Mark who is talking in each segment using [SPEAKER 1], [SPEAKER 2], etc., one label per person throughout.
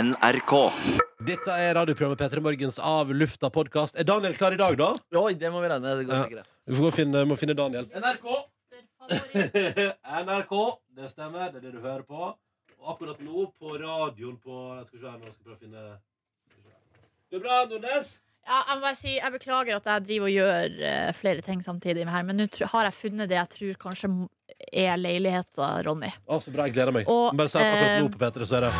[SPEAKER 1] NRK.
[SPEAKER 2] Dette er radioprogrammet P3 Morgens av lufta podkast. Er Daniel klar i dag, da?
[SPEAKER 3] Oi, det må vi regne med. Det går
[SPEAKER 2] Ja.
[SPEAKER 3] sikkert.
[SPEAKER 2] Vi får gå og finne, må finne Daniel.
[SPEAKER 3] NRK!
[SPEAKER 2] NRK, det stemmer. Det er det du hører på. Og akkurat nå på radioen på Skal vi se her nå, skal jeg prøve å finne Det er bra, Nordnes.
[SPEAKER 4] Ja, jeg må bare si, jeg beklager at jeg driver og gjør eh, flere ting samtidig med her, men nå tr- har jeg funnet det jeg tror kanskje m- er leiligheta, Ronny.
[SPEAKER 2] Å, så bra. Jeg gleder meg.
[SPEAKER 4] Og,
[SPEAKER 2] Bare si at akkurat
[SPEAKER 4] eh,
[SPEAKER 2] nå på P3 så er det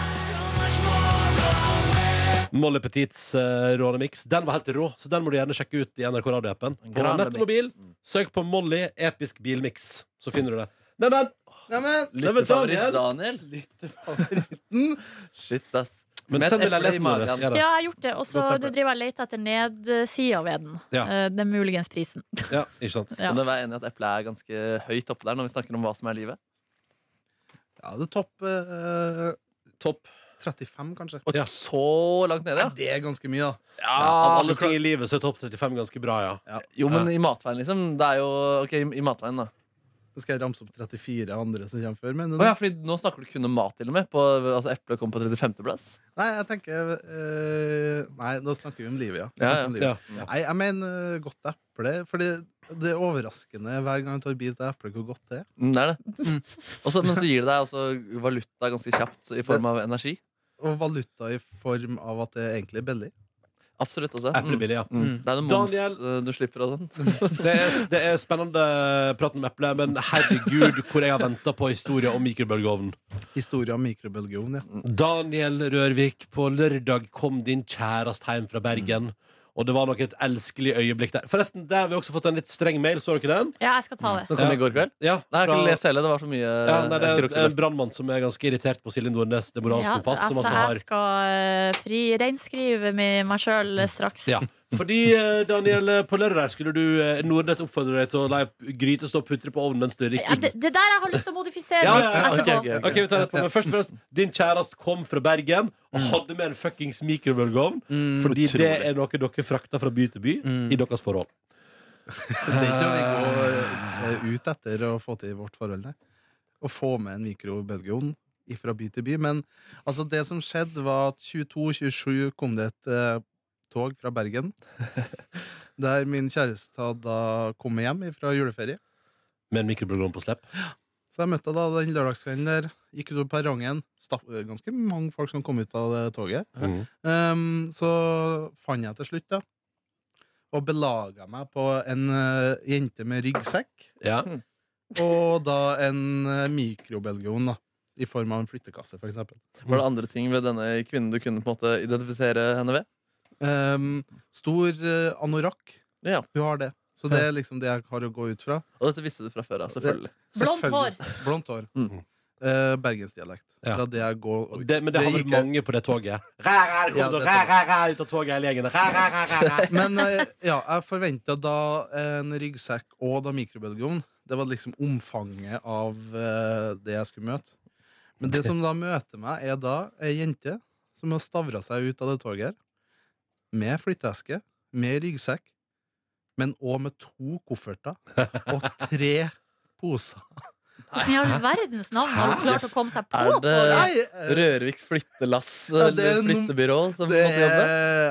[SPEAKER 2] Molly Petits uh, rånemix. Den var helt rå, så den må du gjerne sjekke ut i NRK Radio-appen. På
[SPEAKER 3] Grane
[SPEAKER 2] nett og mobil,
[SPEAKER 3] mix.
[SPEAKER 2] søk på Molly episk bilmix, så finner du det. Neimen,
[SPEAKER 5] Neimen,
[SPEAKER 2] neimen
[SPEAKER 3] Favoritt
[SPEAKER 2] Daniel!
[SPEAKER 3] Daniel.
[SPEAKER 5] lyttefavoritten.
[SPEAKER 3] Shit, ass.
[SPEAKER 2] Men
[SPEAKER 3] Med et
[SPEAKER 2] send meg
[SPEAKER 3] eple i
[SPEAKER 2] leiligheten vår.
[SPEAKER 3] magen.
[SPEAKER 2] gjør det.
[SPEAKER 4] Ja, jeg har gjort det, og så
[SPEAKER 5] Godt tempo.
[SPEAKER 4] driver jeg og leter etter nedsida ved den.
[SPEAKER 2] Ja.
[SPEAKER 4] Eh, Det er muligens prisen.
[SPEAKER 2] Ja, ikke sant?
[SPEAKER 4] Ja.
[SPEAKER 3] Kan du være enig i at eplet er ganske høyt oppe der når vi snakker om hva som er livet?
[SPEAKER 5] Ja, det er topp eh,
[SPEAKER 2] Topp.
[SPEAKER 5] 35, kanskje.
[SPEAKER 3] Og
[SPEAKER 2] Ja.
[SPEAKER 3] så langt nede, ja.
[SPEAKER 5] Det er ganske mye, da.
[SPEAKER 3] ja.
[SPEAKER 2] Av
[SPEAKER 3] alle
[SPEAKER 2] alle ting i livet så er topp 35 ganske bra, ja.
[SPEAKER 3] Jo, men i matveien, liksom. Det er jo OK, i i matveien, da.
[SPEAKER 5] Nå skal jeg ramse opp 34 andre som kommer før. Men
[SPEAKER 3] Å ja, fordi nå snakker du kun om mat, til og med. På, altså, Eplet kom på 35.-plass.
[SPEAKER 5] nei, jeg tenker eh, Nei, da snakker vi om livet, ja.
[SPEAKER 3] Ja, ja.
[SPEAKER 5] Om livet.
[SPEAKER 2] Ja.
[SPEAKER 5] Nei, jeg mener eh, godt eple. Fordi det er overraskende hver gang jeg tar bit av eple, hvor godt det er.
[SPEAKER 3] Mm, det er det. Og så- men så gir det deg også valuta ganske kjapt i form av energi.
[SPEAKER 5] Og valuta i form av at det egentlig er billig.
[SPEAKER 3] Absolutt også. Mm.
[SPEAKER 2] Eplebillig, ja.
[SPEAKER 3] Mm. Det er noe moms
[SPEAKER 2] Daniel.
[SPEAKER 3] eh, du slipper og sånn.
[SPEAKER 2] Det er, det er spennende praten om eple, men herregud hvor jeg har venta på historien om mikrobølgeovnen.
[SPEAKER 5] Historie om mikrobølgeovn, ja.
[SPEAKER 2] Daniel Rørvik, på lørdag kom din kjæreste hjem fra Bergen. Og det var nok et elskelig øyeblikk der. Forresten, der har vi også fått en litt streng mail, så dere den?
[SPEAKER 4] Ja, jeg skal ta det.
[SPEAKER 3] Som kom
[SPEAKER 2] Ja.
[SPEAKER 3] i går kveld.
[SPEAKER 2] Ja,
[SPEAKER 3] Nei, jeg har
[SPEAKER 2] fra-
[SPEAKER 3] ikke lest hele. Det var så mye.
[SPEAKER 2] ja, nei, det
[SPEAKER 3] Eh, jeg
[SPEAKER 2] er
[SPEAKER 3] rakk ikke
[SPEAKER 2] en
[SPEAKER 3] lest.
[SPEAKER 2] brannmann som er ganske irritert på Silje Nordnes, det moralske
[SPEAKER 4] Ja,
[SPEAKER 2] kompass, som
[SPEAKER 4] altså,
[SPEAKER 2] altså har
[SPEAKER 4] jeg skal eh, fri reinskrive med meg sjøl straks.
[SPEAKER 2] Ja. Fordi, eh, Daniel, eh, på lørdag skulle du eh, Nordnes oppfordre deg til å la ei gryte stå og putre på ovnen mens du
[SPEAKER 4] Ja,
[SPEAKER 2] drikker.
[SPEAKER 4] det, det der jeg har lyst til å modifisere
[SPEAKER 2] Ja,
[SPEAKER 4] litt
[SPEAKER 2] ja, ja,
[SPEAKER 4] etterpå.
[SPEAKER 3] ok, ok.
[SPEAKER 2] Ok, vi tar det etterpå, men først og fremst Din kjæreste kom fra Bergen og hadde med en fuckings mikrobølgeovn. Mm.
[SPEAKER 5] Mm.
[SPEAKER 2] fordi
[SPEAKER 3] utrolig.
[SPEAKER 2] det er noe dere frakta fra by til by i deres forhold.
[SPEAKER 5] Det er ikke noe vi går eh, ut etter å få til i vårt forhold. nei. Å få med en mikrobølgeovn fra by til by. Men altså, det som skjedde, var at 22-27 kom det et eh, tog fra Bergen. Der min kjæreste hadde da kommet hjem fra juleferie.
[SPEAKER 2] Med en mikrobølgeovn på slepp.
[SPEAKER 5] Så jeg møtte henne da den lørdagskvelden der. Gikk ut på perrongen. stapp- Ganske mange folk som kom ut av det toget.
[SPEAKER 2] Mm.
[SPEAKER 5] Ehm, så fant jeg til slutt, da. Og belaga meg på en eh, jente med ryggsekk.
[SPEAKER 2] Ja.
[SPEAKER 5] Og da en eh, mikrobølgeovn, da. I form av en flyttekasse, for eksempel.
[SPEAKER 3] Var det andre ting ved denne kvinnen du kunne på en måte identifisere henne ved?
[SPEAKER 5] Ehm, stor eh, anorakk.
[SPEAKER 3] Ja.
[SPEAKER 5] Hun har det. Så det er liksom det jeg har å gå ut fra.
[SPEAKER 3] Og dette visste du fra før, ja, selvfølgelig.
[SPEAKER 4] Blondt
[SPEAKER 5] Selvfølgelig. Blondt hår.
[SPEAKER 3] Mm.
[SPEAKER 5] Eh, Bergensdialekt.
[SPEAKER 2] Ja.
[SPEAKER 5] Det er det jeg går
[SPEAKER 2] Og Det, men det, har vel
[SPEAKER 5] gikk jeg-
[SPEAKER 2] mange på det toget. Ræ, ræ, det kom
[SPEAKER 5] Ja,
[SPEAKER 2] sånn,
[SPEAKER 5] det
[SPEAKER 2] ræ,
[SPEAKER 5] er
[SPEAKER 2] ræ, ræ, ut av toget hele gjengen. Ræ, ræ, ræ, ræ, ræ.
[SPEAKER 5] Men eh, ja, jeg forventa da en ryggsekk og da mikrobølgeovn. Det var liksom omfanget av eh, det jeg skulle møte. Men det som da møter meg, er da ei jente som har stavra seg ut av det toget her. Med flytteeske, med ryggsekk, men òg med to kofferter og tre poser.
[SPEAKER 4] Hvordan i all verdens navn har hun klart å komme seg på?
[SPEAKER 3] Er det
[SPEAKER 5] Nei, eh,
[SPEAKER 3] Rørviks flyttelass
[SPEAKER 5] Ja, det er
[SPEAKER 3] eller
[SPEAKER 5] nom-
[SPEAKER 3] flyttebyrå som
[SPEAKER 5] det,
[SPEAKER 3] måtte jobbe?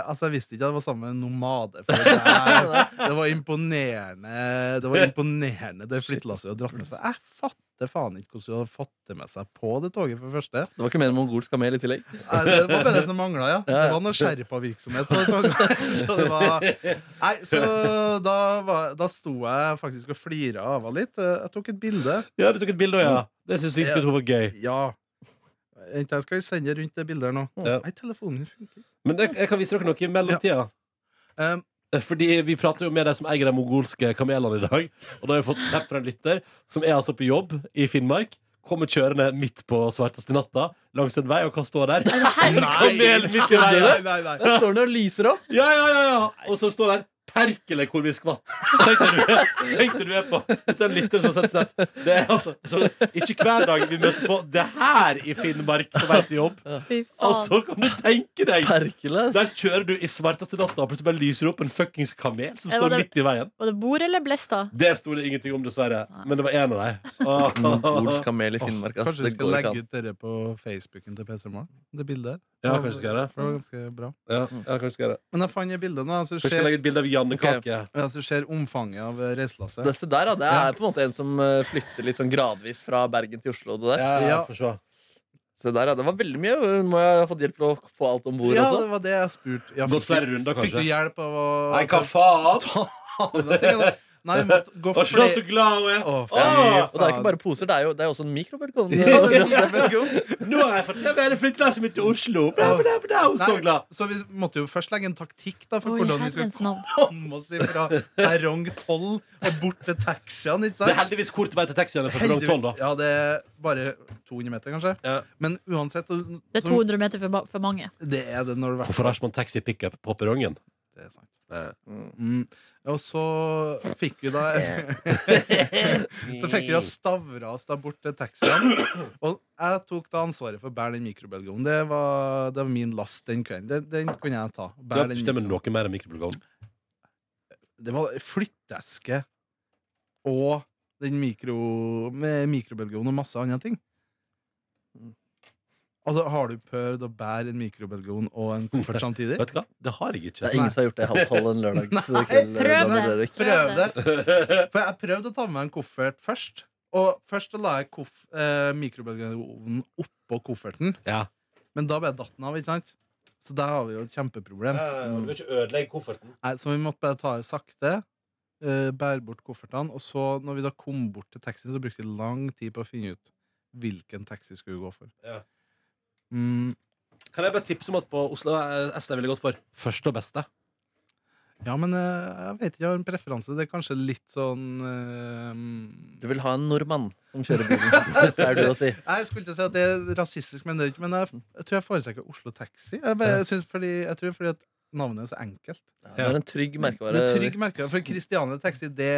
[SPEAKER 5] altså, jeg visste ikke at det var samme nomade. For det, er, det var imponerende Det var imponerende det flyttelasset hun hadde dratt med seg. Jeg fatter faen ikke hvordan hun hadde fått det med seg på det toget. for Det første
[SPEAKER 3] Det var ikke mer enn mongolsk kamel i tillegg.
[SPEAKER 5] Nei, Det var bare det som mangla, ja. Det var noe sherpavirksomhet på det toget. Så det var Nei, så da, var, da sto jeg faktisk og flira av henne litt. Jeg tok et bilde.
[SPEAKER 2] Ja, du tok et bilde òg, ja. Det syns jeg ikke var gøy.
[SPEAKER 5] Ja. Vent, Jeg skal sende rundt det bildet her nå.
[SPEAKER 2] Ja.
[SPEAKER 5] Nei, telefonen min funker ikke.
[SPEAKER 2] Men jeg, jeg kan vise dere noe i mellomtida.
[SPEAKER 5] Um,
[SPEAKER 2] Fordi vi prater jo med de som eier de mongolske kamelene i dag. Og da har vi fått snap fra en lytter som er altså på jobb i Finnmark. Kommer kjørende midt på svarteste natta langs en vei, og hva står der?
[SPEAKER 4] Er det her?
[SPEAKER 2] Kamel midt i veien!
[SPEAKER 5] nei, nei.
[SPEAKER 3] Der står den og lyser opp!
[SPEAKER 2] Ja, ja, ja, ja. Og så står der Herkele hvor vi skvatt. Tenkte du, tenkte du er på den lytter som har sett snap. Det er altså så, ikke hver dag vi møter på det her i Finnmark på vei til jobb.
[SPEAKER 4] Fy faen.
[SPEAKER 2] Altså, kan du tenke deg!
[SPEAKER 3] Hercules.
[SPEAKER 2] Der kjører du i svarteste natta, og plutselig bare lyser det opp en fuckings kamel som
[SPEAKER 4] Ja,
[SPEAKER 2] står
[SPEAKER 4] det-
[SPEAKER 2] midt i veien.
[SPEAKER 4] Var det bord eller blesta?
[SPEAKER 2] Det sto det ingenting om, dessverre. Men det var én av Ah. Sånn
[SPEAKER 3] Mongolsk
[SPEAKER 2] dem.
[SPEAKER 3] kamel i Finnmark. ass.
[SPEAKER 5] Kanskje vi
[SPEAKER 3] Det
[SPEAKER 5] skal
[SPEAKER 3] går ikke
[SPEAKER 5] legge
[SPEAKER 3] an.
[SPEAKER 5] ut dere på Facebooken til PC Morgen? Det bildet her.
[SPEAKER 2] Ja, kanskje skal jeg gjøre det.
[SPEAKER 5] For det var ganske bra.
[SPEAKER 2] Ja, ja, kanskje skal jeg gjøre det.
[SPEAKER 5] Men jeg fant det bildet nå. Så
[SPEAKER 2] Mm. Kanskje skal jeg
[SPEAKER 5] ser,
[SPEAKER 2] legge et bilde av Janne
[SPEAKER 3] Ok.
[SPEAKER 2] Kake.
[SPEAKER 5] ja, så ser omfanget av eh, reiselasset.
[SPEAKER 3] Dette der, da, det er på en måte en som eh, flytter litt sånn gradvis fra Bergen til Oslo. og Det der.
[SPEAKER 2] Ja, ja,
[SPEAKER 5] Ja.
[SPEAKER 2] for så.
[SPEAKER 3] Så der, ja, det var veldig mye. Hun må jeg ha fått hjelp til å få alt om bord
[SPEAKER 5] Ja, det
[SPEAKER 3] også.
[SPEAKER 5] var det jeg spurte. Ja,
[SPEAKER 2] Gått flere runder,
[SPEAKER 5] fikk du
[SPEAKER 2] kanskje.
[SPEAKER 5] hjelp av å
[SPEAKER 2] Nei, hva faen?
[SPEAKER 5] Da tenker jeg da- Nei, jeg måtte gå
[SPEAKER 2] Var ikke du
[SPEAKER 5] flere
[SPEAKER 2] så glad hun er?
[SPEAKER 5] Å, fy
[SPEAKER 2] Åh!
[SPEAKER 3] Og det er jo ikke bare poser, det er jo, det er jo også en mikrobølgeovn.
[SPEAKER 5] Ja, det er mikrobølgeovn.
[SPEAKER 2] Nå har jeg fått Jeg vil flytte deg så mye til Oslo. Bla, bla, bla, bla. Hun er så
[SPEAKER 5] Nei.
[SPEAKER 2] glad.
[SPEAKER 5] Så vi måtte jo først legge en taktikk da, for
[SPEAKER 4] Oi,
[SPEAKER 5] hvordan vi skal
[SPEAKER 4] herrens navn.
[SPEAKER 5] komme oss fra perrong 12 og bort til taxiene. Ikke
[SPEAKER 2] Det er
[SPEAKER 5] sant?
[SPEAKER 2] heldigvis kort vei til taxiene fra Perrong 12, da.
[SPEAKER 5] Ja, det er bare 200 meter, kanskje.
[SPEAKER 2] Ja.
[SPEAKER 5] Men uansett så-
[SPEAKER 4] Det er 200 meter for, ma- for mange.
[SPEAKER 5] det er det når du har vært
[SPEAKER 2] Hvorfor har ikke man taxi pickup på perrongen?
[SPEAKER 5] det er sant.
[SPEAKER 2] Eh,
[SPEAKER 5] Mm. Og så fikk vi da Så fikk vi da stavra oss da bort til taxien. Og jeg tok da ansvaret for å bære den mikrobølgeovnen. Det, var- det var min last den kvelden. Den, den kunne jeg ta.
[SPEAKER 2] Du har
[SPEAKER 5] Bære den
[SPEAKER 2] bestemt
[SPEAKER 5] mikro-
[SPEAKER 2] noe mer enn mikrobølgeovn.
[SPEAKER 5] det var flytteeske og den mikro, med mikrobølgeovnen og masse andre ting. Altså, har du prøvd å bære en mikrobølgeovn og en koffert samtidig?
[SPEAKER 2] Vet du hva? Det har jeg
[SPEAKER 3] Det
[SPEAKER 2] ikke.
[SPEAKER 3] er ingen som har gjort det halv tolv en lørdagskveld.
[SPEAKER 5] Nei,
[SPEAKER 4] prøv
[SPEAKER 3] Daniel
[SPEAKER 4] det.
[SPEAKER 3] Rørvik.
[SPEAKER 5] Prøv det! For jeg prøvde å ta med meg en koffert først. Og først da la jeg koff, eh, mikrobølgeovnen oppå kofferten.
[SPEAKER 2] Ja.
[SPEAKER 5] Men da ble jeg datten av, ikke sant? Så der har vi jo et kjempeproblem.
[SPEAKER 2] Eh,
[SPEAKER 5] Mm.
[SPEAKER 2] Du vil ikke ødelegge kofferten.
[SPEAKER 5] Nei, så vi måtte bare ta det sakte. eh, bære bort koffertene. Og så, når vi da kom bort til taxien, så brukte vi lang tid på å finne ut hvilken taxi skulle vi gå for.
[SPEAKER 2] Ja.
[SPEAKER 5] Mm,
[SPEAKER 2] Kan jeg bare tipse om at på Oslo eh, S jeg ville gått for første og beste?
[SPEAKER 5] ja, men eh, jeg vet ikke, jeg har en preferanse. Det er kanskje litt sånn eh,
[SPEAKER 3] Du vil ha en nordmann som kjører bilen. Det er du å si.
[SPEAKER 5] Nei, Jeg skulle ikke si at det er rasistisk, men det er ikke Men jeg, jeg tror jeg foretrekker Oslo Taxi. Jeg, bare, jeg, synes fordi, jeg tror fordi at navnet er så enkelt.
[SPEAKER 3] Det er en trygg merkevare
[SPEAKER 5] Det er trygg merke, for Christiania Taxi det,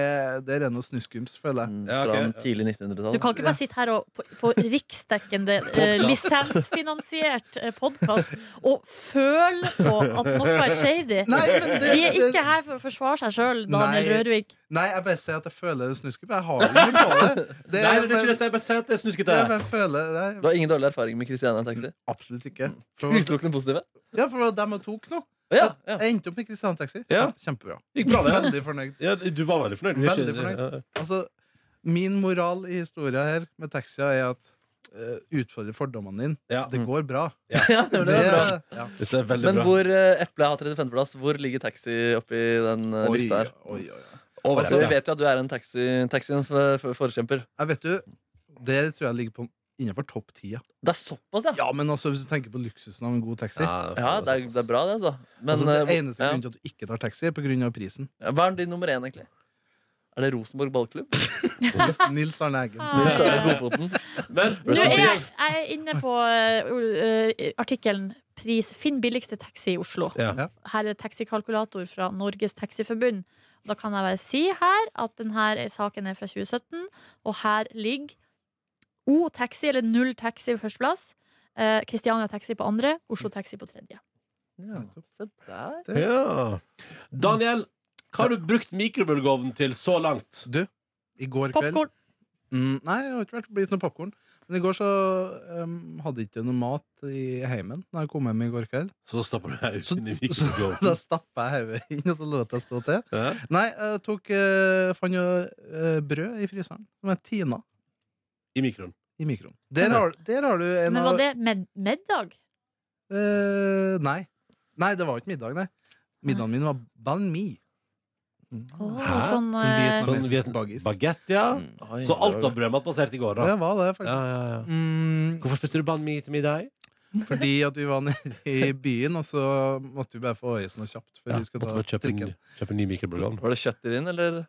[SPEAKER 5] det er noe snuskums, føler jeg.
[SPEAKER 3] mm,
[SPEAKER 2] Ja,
[SPEAKER 3] fra
[SPEAKER 2] ok.
[SPEAKER 3] en tidlig
[SPEAKER 4] Du
[SPEAKER 3] 1900-tall.
[SPEAKER 4] kan ikke bare sitte her og på- få riksdekkende eh, lisensfinansiert podkast og føle på at noe er shady.
[SPEAKER 5] Nei, men det,
[SPEAKER 4] De er ikke
[SPEAKER 5] det,
[SPEAKER 4] her for å forsvare seg sjøl, Daniel
[SPEAKER 5] Nei.
[SPEAKER 4] Rørvik.
[SPEAKER 5] nei, jeg bare sier at jeg føler det er snuskums. Jeg har jo ikke på det. det,
[SPEAKER 2] Nei,
[SPEAKER 5] er
[SPEAKER 2] men det er ikke
[SPEAKER 5] bare-
[SPEAKER 2] det. Jeg bare sier at det er snuskete.
[SPEAKER 5] jeg bare føler
[SPEAKER 3] Du
[SPEAKER 5] det.
[SPEAKER 3] har ingen dårlig erfaring med Christiania Taxi?
[SPEAKER 5] Absolutt ikke. For,
[SPEAKER 3] Utelukkende positive?
[SPEAKER 5] ja, for det var dem jeg tok nå.
[SPEAKER 3] Å, Mm, Ja, ja.
[SPEAKER 5] Jeg endte opp med Christiania Taxi.
[SPEAKER 2] Ja.
[SPEAKER 5] Kjempebra.
[SPEAKER 2] Gikk bra, det.
[SPEAKER 5] Veldig fornøyd.
[SPEAKER 2] Ja, du var veldig fornøyd. Du er
[SPEAKER 5] Veldig fornøyd.
[SPEAKER 2] Ja, ja.
[SPEAKER 5] Altså, min moral i historia her med taxier er at uh, utfordre fordommene dine.
[SPEAKER 2] Ja.
[SPEAKER 5] Det går bra.
[SPEAKER 3] ja det var det.
[SPEAKER 5] ja.
[SPEAKER 2] Dette er veldig
[SPEAKER 3] Men
[SPEAKER 2] bra.
[SPEAKER 3] hvor eh, Eple har 35.-plass, hvor ligger taxi oppi den eh,
[SPEAKER 5] Oi,
[SPEAKER 3] lista her?
[SPEAKER 5] oi, oi, oi.
[SPEAKER 2] Over
[SPEAKER 3] Altså, vi
[SPEAKER 2] det.
[SPEAKER 3] vet jo at du er en taxi, taxiens for- for- forkjemper.
[SPEAKER 5] Jeg vet du, det tror jeg ligger på innenfor topp 10
[SPEAKER 3] Det er såpass, ja!
[SPEAKER 5] Ja, men altså, hvis du tenker på luksusen av en god taxi
[SPEAKER 3] Ja, det er, det er bra, det, altså. Men
[SPEAKER 5] altså, Det
[SPEAKER 3] eh,
[SPEAKER 5] eneste
[SPEAKER 3] hvor-
[SPEAKER 5] grunnen til at du ikke tar taxi, er på grunn av prisen.
[SPEAKER 3] ja. hva er din nummer én, egentlig? Er det Rosenborg ballklubb?
[SPEAKER 5] Nils Arne Eggen.
[SPEAKER 4] Ah.
[SPEAKER 3] Så er det Godfoten.
[SPEAKER 2] Men
[SPEAKER 4] Nå er jeg,
[SPEAKER 2] Rest
[SPEAKER 4] jeg er inne på eh, eh, artikkelen Pris, 'Finn billigste taxi i Oslo'.
[SPEAKER 2] Ja.
[SPEAKER 5] Ja.
[SPEAKER 4] Her er taxikalkulator fra Norges Taxiforbund. Da kan jeg bare si her at denne saken er fra 2017, og her ligger O Taxi, eller Null Taxi, på førsteplass. eh, Christiania Taxi på andre, Oslo Taxi på tredje.
[SPEAKER 5] Ja,
[SPEAKER 3] Se der.
[SPEAKER 2] Ja. Daniel, hva har du brukt mikrobølgeovnen til så langt?
[SPEAKER 5] I går kveld
[SPEAKER 4] Popkorn.
[SPEAKER 5] mm, Nei, det har ikke vært blitt noe popkorn. Men i går så um, hadde jeg ikke noe mat i heimen da jeg kom hjem i går kveld.
[SPEAKER 2] Så stapper du deg ut
[SPEAKER 5] Så-
[SPEAKER 2] inn i
[SPEAKER 5] Da
[SPEAKER 2] mikrobølgeovnen.
[SPEAKER 5] stappa jeg hodet inn, og så lot jeg stå til.
[SPEAKER 2] Ja.
[SPEAKER 5] Nei, jeg tok, eh, fant jo eh, brød i fryseren som er tina
[SPEAKER 2] I mikroen.
[SPEAKER 5] i mikroen. Der har, der har du en
[SPEAKER 4] Men
[SPEAKER 5] av
[SPEAKER 4] var det med middag?
[SPEAKER 5] eh, Nei. Nei, det var ikke middag, nei. Middagen min var banh mi.
[SPEAKER 4] Åh,
[SPEAKER 2] Hæ?
[SPEAKER 4] sånn,
[SPEAKER 5] Som
[SPEAKER 4] eh,
[SPEAKER 5] Vietnam-
[SPEAKER 2] Sånn
[SPEAKER 5] Vietnamesisk
[SPEAKER 2] viet-
[SPEAKER 5] bagis.
[SPEAKER 2] Baguette, ja.
[SPEAKER 3] Oi,
[SPEAKER 2] Så alt
[SPEAKER 3] Mm.
[SPEAKER 2] var
[SPEAKER 3] det var-
[SPEAKER 2] brødmatbasert i går,
[SPEAKER 5] Ja,
[SPEAKER 2] da.
[SPEAKER 5] det var det,
[SPEAKER 2] Ja,
[SPEAKER 5] faktisk.
[SPEAKER 2] ja, ja.
[SPEAKER 5] Mm,
[SPEAKER 2] Hvorfor spiste du banh mi til middag?
[SPEAKER 5] fordi at vi var nede i byen, og så måtte vi bare få øye sånn kjapt før
[SPEAKER 2] Ja,
[SPEAKER 5] vi
[SPEAKER 2] måtte
[SPEAKER 5] skulle
[SPEAKER 2] bare
[SPEAKER 5] ta
[SPEAKER 2] kjøpe en,
[SPEAKER 5] trikken.
[SPEAKER 2] kjøpe en ny mikrobølgeovn.
[SPEAKER 3] Var det kjøtt i din, eller?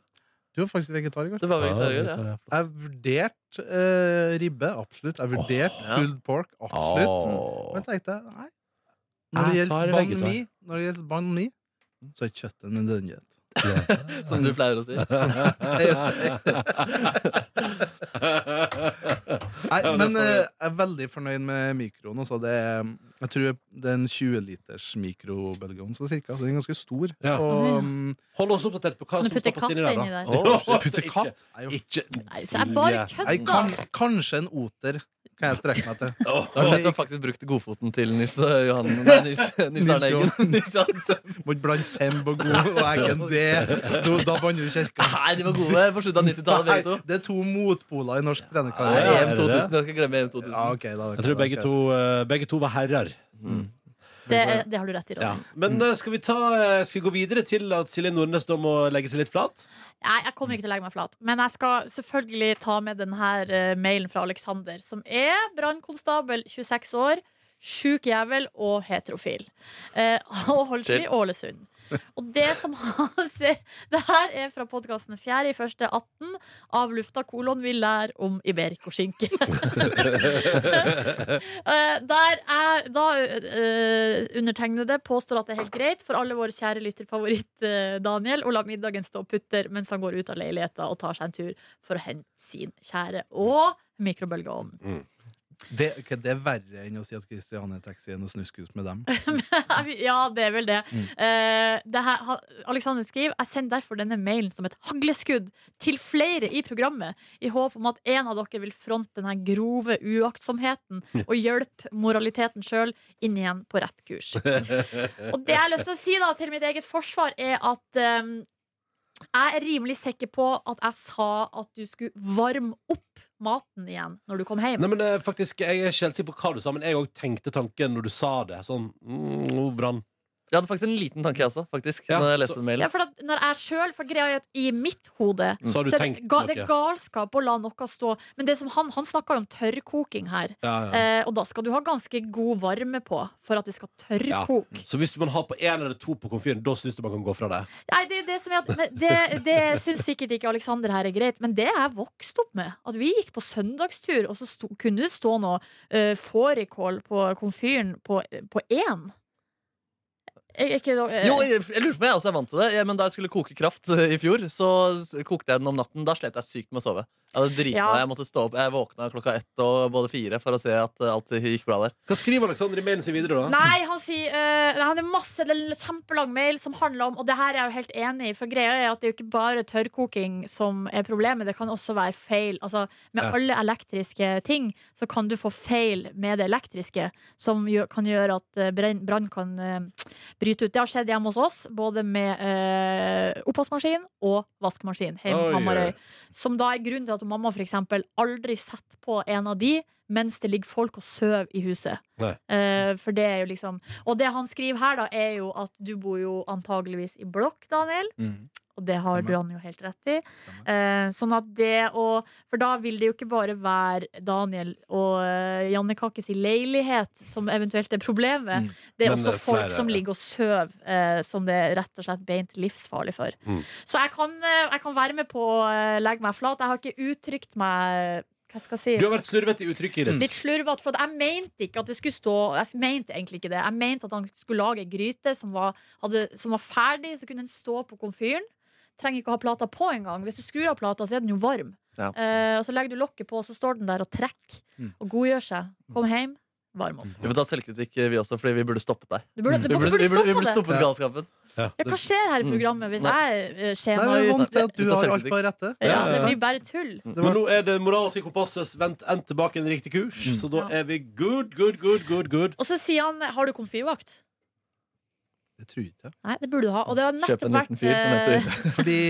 [SPEAKER 5] Du var faktisk vegetar i går.
[SPEAKER 3] Det var vegetarier, ja.
[SPEAKER 2] ja.
[SPEAKER 5] Jeg vurderte eh, ribbe, absolutt. Jeg vurderte
[SPEAKER 3] ja.
[SPEAKER 5] pulled pork, absolutt. Men jeg tenkte nei. Når det
[SPEAKER 2] Jeg tar
[SPEAKER 5] gjelder banh
[SPEAKER 2] vegetar.
[SPEAKER 5] mi, når det gjelder banh mi, så er kjøttet en nødvendighet.
[SPEAKER 3] som du pleier å si.
[SPEAKER 5] Nei,
[SPEAKER 2] Ja, det
[SPEAKER 5] men
[SPEAKER 2] får
[SPEAKER 5] eh,
[SPEAKER 2] vi.
[SPEAKER 5] jeg er veldig fornøyd med mikroen. Også. Det er, jeg tror det er en 20-liters mikrobølgeovn, så cirka. Så den er ganske stor.
[SPEAKER 2] Ja.
[SPEAKER 5] Og um,
[SPEAKER 2] Hold oss oppdatert på hva
[SPEAKER 4] Kan du
[SPEAKER 2] som
[SPEAKER 4] putte
[SPEAKER 2] stoppes
[SPEAKER 4] katt
[SPEAKER 2] inni der,
[SPEAKER 4] inni
[SPEAKER 2] da.
[SPEAKER 4] der?
[SPEAKER 3] Å,
[SPEAKER 2] Ja,
[SPEAKER 3] shit.
[SPEAKER 5] putte
[SPEAKER 2] altså,
[SPEAKER 5] katt er jo
[SPEAKER 2] Ikke,
[SPEAKER 4] Nei, så jeg bare
[SPEAKER 2] Silje.
[SPEAKER 5] Nei, kan,
[SPEAKER 4] kødder.
[SPEAKER 5] kanskje en oter kan jeg strekke meg til.
[SPEAKER 2] Åh,
[SPEAKER 3] Det var fett å faktisk brukt godfoten til Nils eh, Johan Nei, Nils, Nils Arne Eggen. Nils Johan.
[SPEAKER 5] Må ikke blande semb og god og eggen. Det, nå- da banner du kirka.
[SPEAKER 3] Nei, de var gode på slutten av 90-tallet,
[SPEAKER 5] Nei,
[SPEAKER 3] begge to.
[SPEAKER 5] Det er to motpoler i norsk
[SPEAKER 3] Nei,
[SPEAKER 5] trenerkarriere.
[SPEAKER 2] ja,
[SPEAKER 3] EM
[SPEAKER 2] er det
[SPEAKER 3] 2000.
[SPEAKER 2] det?
[SPEAKER 3] Jeg skal glemme EM 2000.
[SPEAKER 5] Ja, ok, da er det
[SPEAKER 2] Jeg tror
[SPEAKER 5] klart,
[SPEAKER 2] begge
[SPEAKER 5] ok.
[SPEAKER 2] to, eh, begge to var herrer.
[SPEAKER 4] Det, er- det har du rett i, Ronny.
[SPEAKER 2] Men eh, skal vi ta, eh, skal vi gå videre til at Silje Nordnes da må legge seg litt flat?
[SPEAKER 4] Nei, jeg kommer ikke til å legge meg flat. Men jeg skal selvfølgelig ta med denne mailen fra Alexander, som er brannkonstabel, 26 år, sjuk jævel og heterofil. Eh, og holdt til i
[SPEAKER 3] Chill.
[SPEAKER 4] Ålesund. Og det som han sier Det her er fra podkasten 4.1.18 av Lufta kolon vi lærer om iberikoskinke. Eh, Der er da eh, undertegnede påstår at det er helt greit for alle våre kjære lytterfavoritt eh, Daniel å la middagen stå putter mens han går ut av leiligheta og tar seg en tur for å hente sin kjære og mikrobølgeovn.
[SPEAKER 5] Det, ok, det er verre enn å si at Christiane Taxi er noe snuskus med dem.
[SPEAKER 4] ja, det er vel det.
[SPEAKER 5] Mm.
[SPEAKER 4] Eh, det her, ha- Alexander skriver Jeg sender derfor denne mailen som et hagleskudd til flere i programmet, i håp om at en av dere vil fronte denne grove uaktsomheten og hjelpe moraliteten sjøl inn igjen på rett kurs. og det jeg har lyst til å si da til mitt eget forsvar, er at eh, jeg er rimelig sikker på at jeg sa at du skulle varme opp maten igjen når du kom hjem.
[SPEAKER 2] Nei, men eh, faktisk, Jeg er ikke helt sikker på hva du sa, men jeg òg tenkte tanken når du sa det. Sånn mm, oh, brann.
[SPEAKER 3] Jeg hadde faktisk en liten tanke, jeg også. Faktisk,
[SPEAKER 2] Ja,
[SPEAKER 3] når jeg
[SPEAKER 2] så-
[SPEAKER 3] leste den mailen.
[SPEAKER 4] Ja, for at når jeg selv, for greia er at I mitt hode
[SPEAKER 3] Mm.
[SPEAKER 2] Så har du
[SPEAKER 4] så er
[SPEAKER 2] tenkt
[SPEAKER 4] det, ga, det er
[SPEAKER 2] noe.
[SPEAKER 4] galskap å la noe stå. Men det som han, han snakka jo om tørrkoking her.
[SPEAKER 2] Ja, ja.
[SPEAKER 4] Eh, og da skal du ha ganske god varme på for at det skal tørrkoke.
[SPEAKER 2] Så hvis man har på én eller to på komfyren, da syns du man kan gå fra det?
[SPEAKER 4] Nei, det, er det, som er at, men det, det syns sikkert ikke Aleksander her er greit, men det er jeg vokst opp med. At vi gikk på søndagstur, og så sto, kunne det stå noe uh, fårikål på komfyren på på én. Er ikke det eh,
[SPEAKER 3] Jo, jeg, jeg lurer på om jeg også er vant til det. Ja, men da jeg skulle koke kraft eh, i fjor, så s- kokte jeg den om natten. Da slet jeg sykt med å sove. Jeg hadde dritbra.
[SPEAKER 4] Ja.
[SPEAKER 3] Jeg måtte stå opp. Jeg våkna klokka ett og både fire for å se at eh, alt gikk bra der.
[SPEAKER 2] Hva skriver Alexander i mailen sin videre, da?
[SPEAKER 4] Nei, han sier eh, nei, Han er masse, det er en kjempelang mail som handler om Og det her er jeg jo helt enig i For greia er at det er jo ikke bare tørrkoking som er problemet Det kan også være feil Altså, med
[SPEAKER 2] Ja.
[SPEAKER 4] alle elektriske ting Så kan du få feil med det elektriske Som gjør, kan gjøre at eh, brenn- brann kan eh, bryte ut Det har skjedd hjemme hos oss Både med eh, oppvaskmaskin og vaskemaskin Hjemme
[SPEAKER 2] Oi,
[SPEAKER 4] på Hammarøy
[SPEAKER 2] oi.
[SPEAKER 4] Som da er grunnen til at mamma for eksempel Aldri setter på en av de Mens det ligger folk og søv i huset Eh, for det er jo liksom Og det han skriver her, da, er jo at du bor jo antageligvis i blokk, Daniel. Og det har
[SPEAKER 5] Stemmer.
[SPEAKER 4] du han jo helt rett i. Eh, sånn at det å For da vil det jo ikke bare være Daniel og eh, Janne Kakkes i leilighet som eventuelt er problemet.
[SPEAKER 5] Mm.
[SPEAKER 4] Det er
[SPEAKER 2] Men det
[SPEAKER 4] også
[SPEAKER 2] er
[SPEAKER 4] folk
[SPEAKER 2] flere,
[SPEAKER 4] som
[SPEAKER 2] ja.
[SPEAKER 4] ligger og sover, eh, som det er rett og slett beint livsfarlig for.
[SPEAKER 2] Mm.
[SPEAKER 4] Så jeg kan, eh, jeg kan være med på å eh, legge meg flat. Jeg har ikke uttrykt meg Hva skal jeg si?
[SPEAKER 2] Du har vært slurvete i uttrykket ditt.
[SPEAKER 4] Litt slurvete. For at jeg mente ikke at det skulle stå Jeg mente egentlig ikke det. Jeg mente at han skulle lage ei gryte som var, hadde, som var ferdig, så kunne den stå på komfyren. Trenger ikke å ha plata på engang. Hvis du skrur av plata, så er den jo varm.
[SPEAKER 3] Ja.
[SPEAKER 4] Eh, og Så legger du lokket på, og så står den der og trekker.
[SPEAKER 5] Mm.
[SPEAKER 4] Og godgjør seg. Kom hjem, varm opp.
[SPEAKER 3] Vi får ta selvkritikk, eh, vi også, fordi vi burde stoppet deg.
[SPEAKER 4] Du burde,
[SPEAKER 3] Vi
[SPEAKER 4] du burde,
[SPEAKER 3] burde, vi burde, vi burde
[SPEAKER 4] stoppe det.
[SPEAKER 3] stoppet galskapen.
[SPEAKER 4] Ja, hva skjer her i programmet hvis jeg eh,
[SPEAKER 5] Nei,
[SPEAKER 4] skjema
[SPEAKER 5] det er
[SPEAKER 4] ut?
[SPEAKER 5] vant til at du
[SPEAKER 3] Ut av
[SPEAKER 5] har alt
[SPEAKER 3] selvkritikk.
[SPEAKER 5] på rette.
[SPEAKER 4] Ja, det
[SPEAKER 2] Ja, ja.
[SPEAKER 4] blir bare tull.
[SPEAKER 5] Det
[SPEAKER 2] Men
[SPEAKER 5] var,
[SPEAKER 2] nå er det moralske kompasset vendt endt tilbake i en riktig kurs, så da
[SPEAKER 4] Ja.
[SPEAKER 2] er vi good, good, good, good. good
[SPEAKER 4] Og så sier han 'har du komfyrvakt'?
[SPEAKER 5] det tror jeg ikke.
[SPEAKER 4] Nei, det burde du ha. Og det har
[SPEAKER 3] Kjøp
[SPEAKER 4] nettopp
[SPEAKER 3] en
[SPEAKER 4] vært
[SPEAKER 3] liten fyr som
[SPEAKER 4] eh,
[SPEAKER 3] heter
[SPEAKER 5] Fordi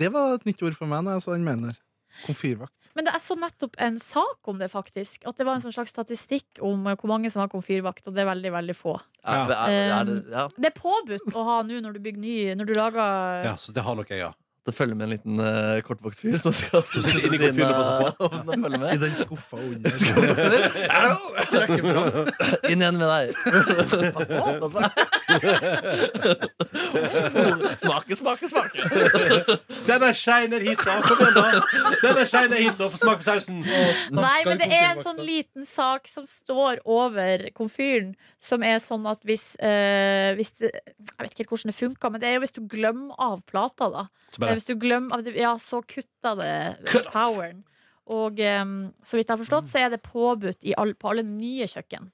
[SPEAKER 5] det var et nytt ord for meg når jeg så den mener. Komfyrvakt.
[SPEAKER 4] Men det, jeg så nettopp en sak om det, faktisk. At det var en sånn slags statistikk om eh, hvor mange som har komfyrvakt, og det er veldig, veldig få.
[SPEAKER 3] Ja, er, er det, ja.
[SPEAKER 4] Det er påbudt å ha nå når du bygger ny Når du lager
[SPEAKER 2] Ja, så det har nok jeg, ja.
[SPEAKER 3] måtte følge med en liten eh, kortvokst fyr som skal
[SPEAKER 2] Som sitter inni komfyren og
[SPEAKER 3] og følge
[SPEAKER 5] I
[SPEAKER 3] med.
[SPEAKER 5] den skuffa under. skal jeg trekke fram.
[SPEAKER 3] Inn igjen med deg. Pass på! Pass på. Smake, smake, smake.
[SPEAKER 2] Send ei skei ned hit, da! Kom igjen, da! Send ei skei ned hit, da! Få smake på sausen!
[SPEAKER 4] Nei, men det er en sånn liten sak som står over komfyren, som er sånn at hvis, eh, hvis det, Jeg vet ikke helt hvordan det funker, men det er jo hvis du glemmer av plata, da. Eh,
[SPEAKER 2] Så bare,
[SPEAKER 4] Hvis du glemmer av, Ja, så kutter det
[SPEAKER 2] Cut off.
[SPEAKER 4] poweren. Og eh, så vidt jeg har forstått, så er det påbudt i all, på alle nye kjøkken.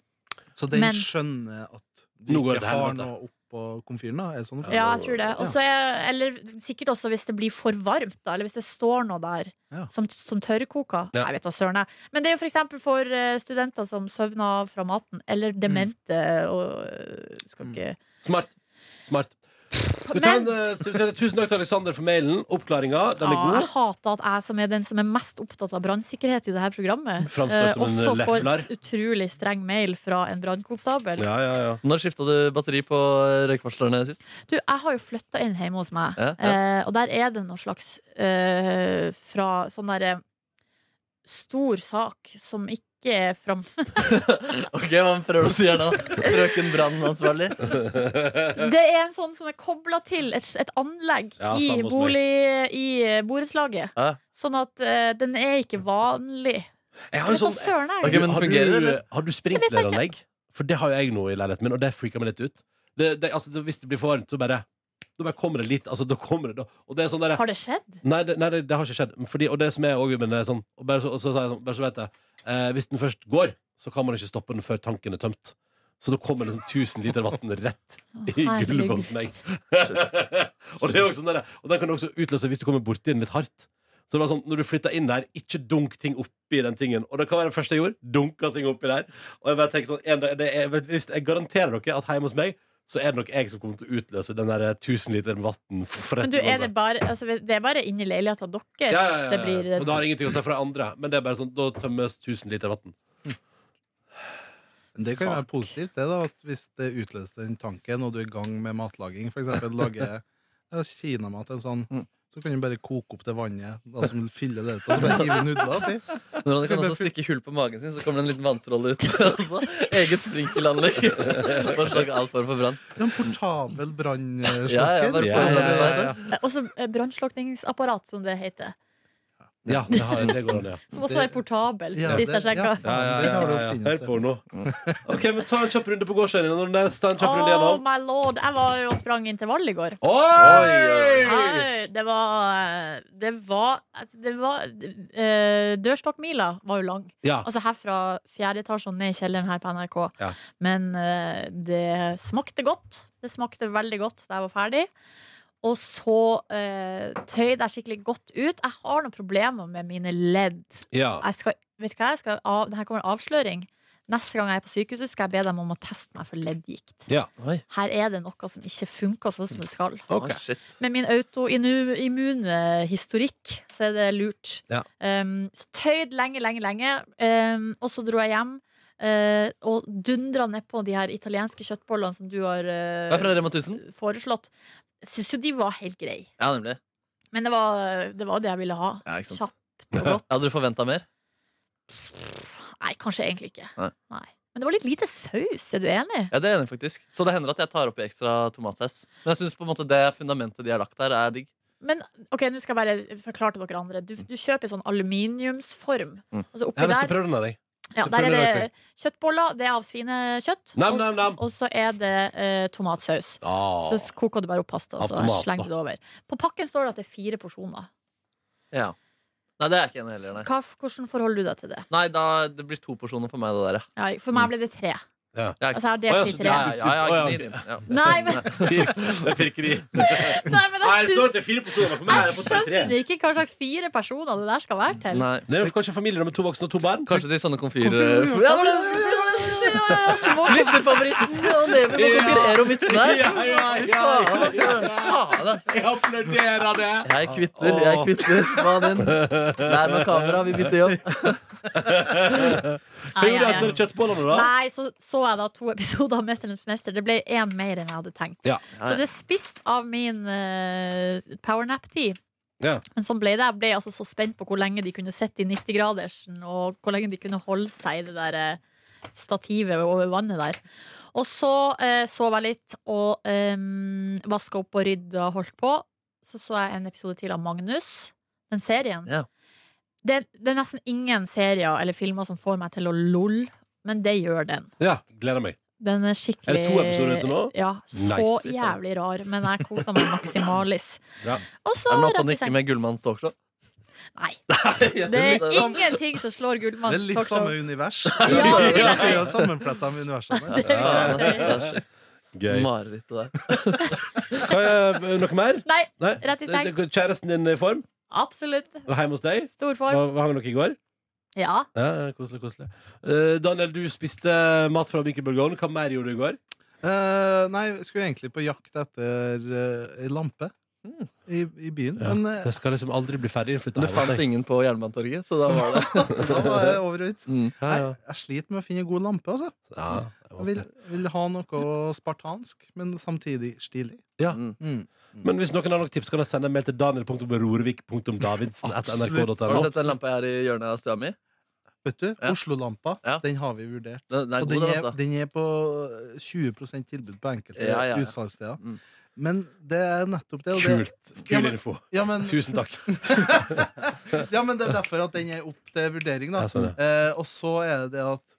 [SPEAKER 5] Så den
[SPEAKER 4] Men-
[SPEAKER 5] skjønner at du
[SPEAKER 2] Nå går det
[SPEAKER 5] ikke
[SPEAKER 2] til
[SPEAKER 5] har
[SPEAKER 2] helvete.
[SPEAKER 5] noe oppå komfyren? da? Er det sånn det
[SPEAKER 4] Ja, jeg tror det. Og
[SPEAKER 5] Ja.
[SPEAKER 4] så er, eller sikkert også hvis det blir for varmt, da, eller hvis det står noe der
[SPEAKER 5] Ja.
[SPEAKER 4] som, som tørrkoker.
[SPEAKER 2] Ja.
[SPEAKER 4] Jeg vet da søren, jeg. Men det er jo for eksempel for eh, studenter som søvner fra maten, eller
[SPEAKER 2] Mm.
[SPEAKER 4] demente og eh, Skal
[SPEAKER 5] Mm.
[SPEAKER 4] ikke
[SPEAKER 2] smart. Smart. Skal vi ta en, eh, skal vi ta- tusen takk til Aleksander for mailen. Oppklaringa, den er
[SPEAKER 4] Ah,
[SPEAKER 2] god.
[SPEAKER 4] Jeg hater at jeg som er den som er mest opptatt av brannsikkerhet i dette programmet,
[SPEAKER 2] Fremstår
[SPEAKER 4] eh,
[SPEAKER 2] som en
[SPEAKER 4] også får
[SPEAKER 2] lefler.
[SPEAKER 4] s- utrolig streng mail fra en brannkonstabel.
[SPEAKER 2] Ja, ja, ja.
[SPEAKER 3] Når skifta du batteri på eh, røykvarslerne sist?
[SPEAKER 4] Du, jeg har jo flytta inn hjemme hos meg,
[SPEAKER 3] Ja, ja.
[SPEAKER 4] Eh, og der er det noe slags eh, fra sånn derre stor sak som ikke er fram...
[SPEAKER 3] Ok, Hva prøver du å si her nå? Frøken brannansvarlig?
[SPEAKER 4] Det er en sånn som er kobla til et, et anlegg
[SPEAKER 2] Ja,
[SPEAKER 4] i
[SPEAKER 2] samme hos meg.
[SPEAKER 4] bolig i eh, borettslaget.
[SPEAKER 3] Ja.
[SPEAKER 4] Sånn at eh, den er ikke vanlig.
[SPEAKER 2] Jeg har
[SPEAKER 4] Hva
[SPEAKER 2] jo sånn
[SPEAKER 4] søren er
[SPEAKER 3] Ok,
[SPEAKER 4] det?
[SPEAKER 3] men
[SPEAKER 2] har,
[SPEAKER 3] fungerer det,
[SPEAKER 2] du, eh,
[SPEAKER 3] eller?
[SPEAKER 2] har du sprinkleranlegg? For det har jo jeg nå i leiligheten min, og det freaker meg litt ut. Det, det, altså, det, hvis det blir for varmt, så bare Da bare kommer det litt. Altså, da kommer det, da. Og det er sånn der,
[SPEAKER 4] Har det skjedd?
[SPEAKER 2] Nei, det, nei, det, det har ikke skjedd. Fordi, og det som er også, men det er sånn, og bare, så, og så, sa jeg sånn, bare så vet jeg eh, Hvis den først går, så kan man ikke stoppe den før tanken er tømt. Så da kommer det sånn 1000 liter vann rett
[SPEAKER 4] Å,
[SPEAKER 2] i gulvet
[SPEAKER 4] herregud.
[SPEAKER 2] hos meg. og, det er også sånn der, og den kan du også utløse hvis du kommer borti den litt hardt. Så det var sånn, når du flytter inn der, ikke dunk ting oppi den tingen. Og det kan være det første jeg gjorde. Dunka ting oppi der. Og jeg bare tenker sånn, en dag, det er, vet- hvis, jeg garanterer dere at hjemme hos meg så er det nok jeg som kommer til å utløse den der 1000 liter vann.
[SPEAKER 4] Men du, er det, bare, altså, det er bare inni leiligheta deres
[SPEAKER 2] ja, ja, ja, ja.
[SPEAKER 4] det blir
[SPEAKER 2] Og det har ingenting å si for de andre, men det er bare sånn, da tømmes 1000 liter vann.
[SPEAKER 5] Men det kan jo være
[SPEAKER 4] Fuck.
[SPEAKER 5] positivt, det, da. At hvis det utløser den tanken, og du er i gang med matlaging, f.eks. lage ja, kinamat, en sånn,
[SPEAKER 3] Mm.
[SPEAKER 5] så kan du bare koke opp det vannet da, som fyller det ut, og så bare hive nudler oppi.
[SPEAKER 3] Men Ronny kan også stikke hull på magen sin, så kommer det en liten vannstråle ut. også. Eget sprinkelanlegg. Bare slage all form for brann.
[SPEAKER 5] Det er En portabel brannslokker.
[SPEAKER 3] Ja, ja, bare få den oppi der.
[SPEAKER 4] eh, Og så brannslukningsapparat, som det heter.
[SPEAKER 2] Ja, det, har, det går an, ja.
[SPEAKER 4] Som også
[SPEAKER 5] Det-
[SPEAKER 4] er portabel, som
[SPEAKER 5] Ja,
[SPEAKER 4] sist jeg
[SPEAKER 5] det- ja,
[SPEAKER 4] sjekka.
[SPEAKER 5] faen, det har du oppfunnet
[SPEAKER 2] Hør
[SPEAKER 5] selv.
[SPEAKER 2] på nå. Ok, men Ta en kjapp runde på gårdsøyene. Når det er- Ta en kjapp runde
[SPEAKER 4] Oh
[SPEAKER 2] gjennom.
[SPEAKER 4] my lord! Jeg var jo og sprang intervall i går.
[SPEAKER 2] Oi!
[SPEAKER 4] Nei, Det var Det var, altså, det var eh, Dørstokkmila var jo lang.
[SPEAKER 2] Ja.
[SPEAKER 4] Altså herfra fjerde etasje og ned i kjelleren her på NRK.
[SPEAKER 2] Ja.
[SPEAKER 4] Men eh, det smakte godt. Det smakte veldig godt da jeg var ferdig. Og så eh, tøyde jeg skikkelig godt ut. Jeg har noen problemer med mine ledd.
[SPEAKER 2] Ja.
[SPEAKER 4] Jeg skal, vet du hva, jeg skal av, Her kommer en avsløring. Neste gang jeg er på sykehuset, skal jeg be dem om å teste meg for leddgikt.
[SPEAKER 3] Oi,
[SPEAKER 4] Her er det noe som ikke funker sånn som det skal.
[SPEAKER 2] Ok.
[SPEAKER 3] å, shit.
[SPEAKER 4] Med min autoimmune historikk så er det lurt.
[SPEAKER 2] Ja.
[SPEAKER 4] Um, så tøyd lenge, lenge, lenge. Um, og så dro jeg hjem uh, og dundra nedpå de her italienske kjøttbollene som du har
[SPEAKER 3] Det er fra
[SPEAKER 4] uh,
[SPEAKER 3] Rema 1000.
[SPEAKER 4] foreslått. Syns jo de var helt greie.
[SPEAKER 3] Ja, nemlig.
[SPEAKER 4] Men det var det, var det jeg ville ha.
[SPEAKER 3] Ja, ikke sant.
[SPEAKER 4] Kjapt og godt.
[SPEAKER 3] Hadde du forventa mer?
[SPEAKER 4] Nei, kanskje egentlig ikke.
[SPEAKER 3] Nei.
[SPEAKER 4] Men det var litt lite saus, er du enig?
[SPEAKER 3] Ja, det er jeg enig i, faktisk. Så det hender at jeg tar oppi ekstra tomatsaus. Men jeg synes på en måte det fundamentet de har lagt der, er digg.
[SPEAKER 4] Men ok, nå skal jeg bare forklare til dere andre. Du, du kjøper en sånn aluminiumsform.
[SPEAKER 3] Mm.
[SPEAKER 4] Og
[SPEAKER 2] Mm. Ja,
[SPEAKER 4] så oppi
[SPEAKER 2] men så
[SPEAKER 4] der
[SPEAKER 2] prøv den der, jeg.
[SPEAKER 4] Ja,
[SPEAKER 2] Jeg
[SPEAKER 4] der
[SPEAKER 2] prøver
[SPEAKER 4] er
[SPEAKER 2] det
[SPEAKER 4] det kjøttboller, det er av svinekjøtt.
[SPEAKER 2] Nam,
[SPEAKER 4] og-
[SPEAKER 2] nam, nam.
[SPEAKER 4] Og så er det eh, tomatsaus.
[SPEAKER 2] Ah.
[SPEAKER 4] Så s- koker du bare opp pasta og
[SPEAKER 2] Av
[SPEAKER 4] så
[SPEAKER 2] tomat,
[SPEAKER 4] slenger
[SPEAKER 2] da.
[SPEAKER 4] du det over. På pakken står det at det er fire porsjoner.
[SPEAKER 3] Ja. Nei, det er jeg ikke enig i heller, nei.
[SPEAKER 4] Hva, f- hvordan forholder du deg til det?
[SPEAKER 3] Nei, da, det blir to porsjoner for meg, det der. ja.
[SPEAKER 4] Ja, for meg ble det tre.
[SPEAKER 3] Ja,
[SPEAKER 4] Altså, jeg har
[SPEAKER 3] ikke sant.
[SPEAKER 4] delt
[SPEAKER 2] Mm. Å, ja,
[SPEAKER 4] i
[SPEAKER 2] så
[SPEAKER 4] tre.
[SPEAKER 2] det
[SPEAKER 3] ja,
[SPEAKER 2] er-
[SPEAKER 3] ja, ja,
[SPEAKER 2] Å,
[SPEAKER 3] ja,
[SPEAKER 2] ja.
[SPEAKER 3] gni den. ja.
[SPEAKER 4] Nei, men,
[SPEAKER 2] Det pirker i.
[SPEAKER 4] nei, men
[SPEAKER 2] Nei,
[SPEAKER 4] jeg
[SPEAKER 2] det står
[SPEAKER 4] syns
[SPEAKER 2] til fire personer. For meg er det på tre.
[SPEAKER 4] skjønner ikke hva slags fire personer det der skal være til.
[SPEAKER 3] Nei.
[SPEAKER 2] Det er jo kanskje familier med to voksne og to barn.
[SPEAKER 3] Kanskje til sånne komfyr...
[SPEAKER 4] Komfyr-
[SPEAKER 3] Ja, det var det jeg skulle si, det var det jeg skulle si!
[SPEAKER 4] Små
[SPEAKER 3] Lytterfavoritten! Han lever med å konkurrere om vitsen her!
[SPEAKER 2] Ja,
[SPEAKER 3] altså.
[SPEAKER 2] ja, ja, ja,
[SPEAKER 3] Faen, da.
[SPEAKER 2] Jeg applauderer det.
[SPEAKER 3] Jeg kvitter, jeg kvitter. Mannen din. Nei, med kamera, vi bytter jobb.
[SPEAKER 2] Hva
[SPEAKER 4] Ai,
[SPEAKER 2] gjorde du
[SPEAKER 4] ai,
[SPEAKER 2] etter
[SPEAKER 4] ai.
[SPEAKER 2] kjøttbollene, da?
[SPEAKER 4] Nei, så så jeg da to episoder av Mesternes mester. Det ble én mer enn jeg hadde tenkt.
[SPEAKER 2] Ja.
[SPEAKER 4] Så det er spist av min eh, powernap-tid.
[SPEAKER 2] Ja.
[SPEAKER 4] Men sånn ble det. Jeg ble altså så spent på hvor lenge de kunne sitte i 90-gradersen, og hvor lenge de kunne holde seg i det der eh, stativet over vannet der. Og så eh, sov jeg litt og eh, vaska opp og rydda og holdt på. Så så jeg en episode til av Magnus, den serien.
[SPEAKER 3] Ja.
[SPEAKER 4] Det, det er nesten ingen serier eller filmer som får meg til å lolle, men det gjør den.
[SPEAKER 2] Ja, gleder meg.
[SPEAKER 4] Den er
[SPEAKER 2] Er
[SPEAKER 4] skikkelig
[SPEAKER 2] det to episoder ute nå?
[SPEAKER 4] Ja, så
[SPEAKER 2] Nice.
[SPEAKER 4] jævlig rar, men jeg koser meg maksimalis.
[SPEAKER 2] Ja.
[SPEAKER 4] Og så
[SPEAKER 3] Er den oppe
[SPEAKER 4] rett
[SPEAKER 3] og
[SPEAKER 4] i
[SPEAKER 3] nikker
[SPEAKER 4] seng.
[SPEAKER 3] med Gullmanns talkshow?
[SPEAKER 4] Nei. Det
[SPEAKER 3] Det sånn-
[SPEAKER 4] er ingenting som slår
[SPEAKER 5] Det
[SPEAKER 4] Gullmanns
[SPEAKER 5] er litt sånn-
[SPEAKER 4] talkshow.
[SPEAKER 5] samme univers.
[SPEAKER 4] Ja,
[SPEAKER 3] det vil jeg
[SPEAKER 5] Vi har sammenfletta med universene.
[SPEAKER 4] Det vil jeg si.
[SPEAKER 2] Gøy.
[SPEAKER 3] Marerittet der.
[SPEAKER 2] Hva er, eh, noe mer?
[SPEAKER 4] Nei,
[SPEAKER 2] Nei?
[SPEAKER 4] rett i seng.
[SPEAKER 2] Kjæresten din i form?
[SPEAKER 4] Absolutt.
[SPEAKER 2] Og Hjemme hos deg?
[SPEAKER 4] Stor form.
[SPEAKER 2] Var, var han noe i går?
[SPEAKER 4] Ja.
[SPEAKER 2] Ja, ja, koselig, koselig. Eh, Daniel, du spiste mat fra mikrobølgeovnen. Hva mer gjorde du i går?
[SPEAKER 5] Eh, nei, vi skulle egentlig på jakt etter eh, ei lampe
[SPEAKER 3] Mm.
[SPEAKER 5] i, i byen.
[SPEAKER 2] Ja,
[SPEAKER 5] Men eh,
[SPEAKER 2] Det skal liksom aldri bli ferdig innflytta.
[SPEAKER 3] Du fant ingen på Jernbanetorget, så da var det
[SPEAKER 5] så da var jeg over og ut.
[SPEAKER 3] mm.
[SPEAKER 2] Ja,
[SPEAKER 5] Nei,
[SPEAKER 2] ja.
[SPEAKER 5] jeg sliter med å finne god lampe, altså.
[SPEAKER 2] Ja, det er
[SPEAKER 5] Jeg vil,
[SPEAKER 2] vanskelig.
[SPEAKER 5] vil ha noe spartansk, men samtidig stilig.
[SPEAKER 2] Ja.
[SPEAKER 3] Mm.
[SPEAKER 5] Mm.
[SPEAKER 2] Men hvis noen har noen tips, kan jeg sende en mail til daniel.rorvik.davidsen.nrk.no.
[SPEAKER 3] Har du sett den lampa jeg har i hjørnet av stua mi?
[SPEAKER 5] Vet du,
[SPEAKER 3] Ja.
[SPEAKER 5] Oslo-lampa,
[SPEAKER 3] Ja.
[SPEAKER 5] den har vi vurdert.
[SPEAKER 3] Den, den er god,
[SPEAKER 5] Og den
[SPEAKER 3] den,
[SPEAKER 5] er,
[SPEAKER 3] altså.
[SPEAKER 5] den er på 20 tilbud på enkelte
[SPEAKER 3] Ja, ja, ja.
[SPEAKER 5] utsalgssteder.
[SPEAKER 3] Mm.
[SPEAKER 5] Men det er nettopp det. og det-
[SPEAKER 2] Kult.
[SPEAKER 5] Ja,
[SPEAKER 2] Kul
[SPEAKER 5] men,
[SPEAKER 2] info.
[SPEAKER 5] ja, men,
[SPEAKER 2] Tusen takk.
[SPEAKER 5] ja, men det er derfor at den er opp til vurdering. Da.
[SPEAKER 2] Ja, sånn,
[SPEAKER 5] Eh, og så er det det at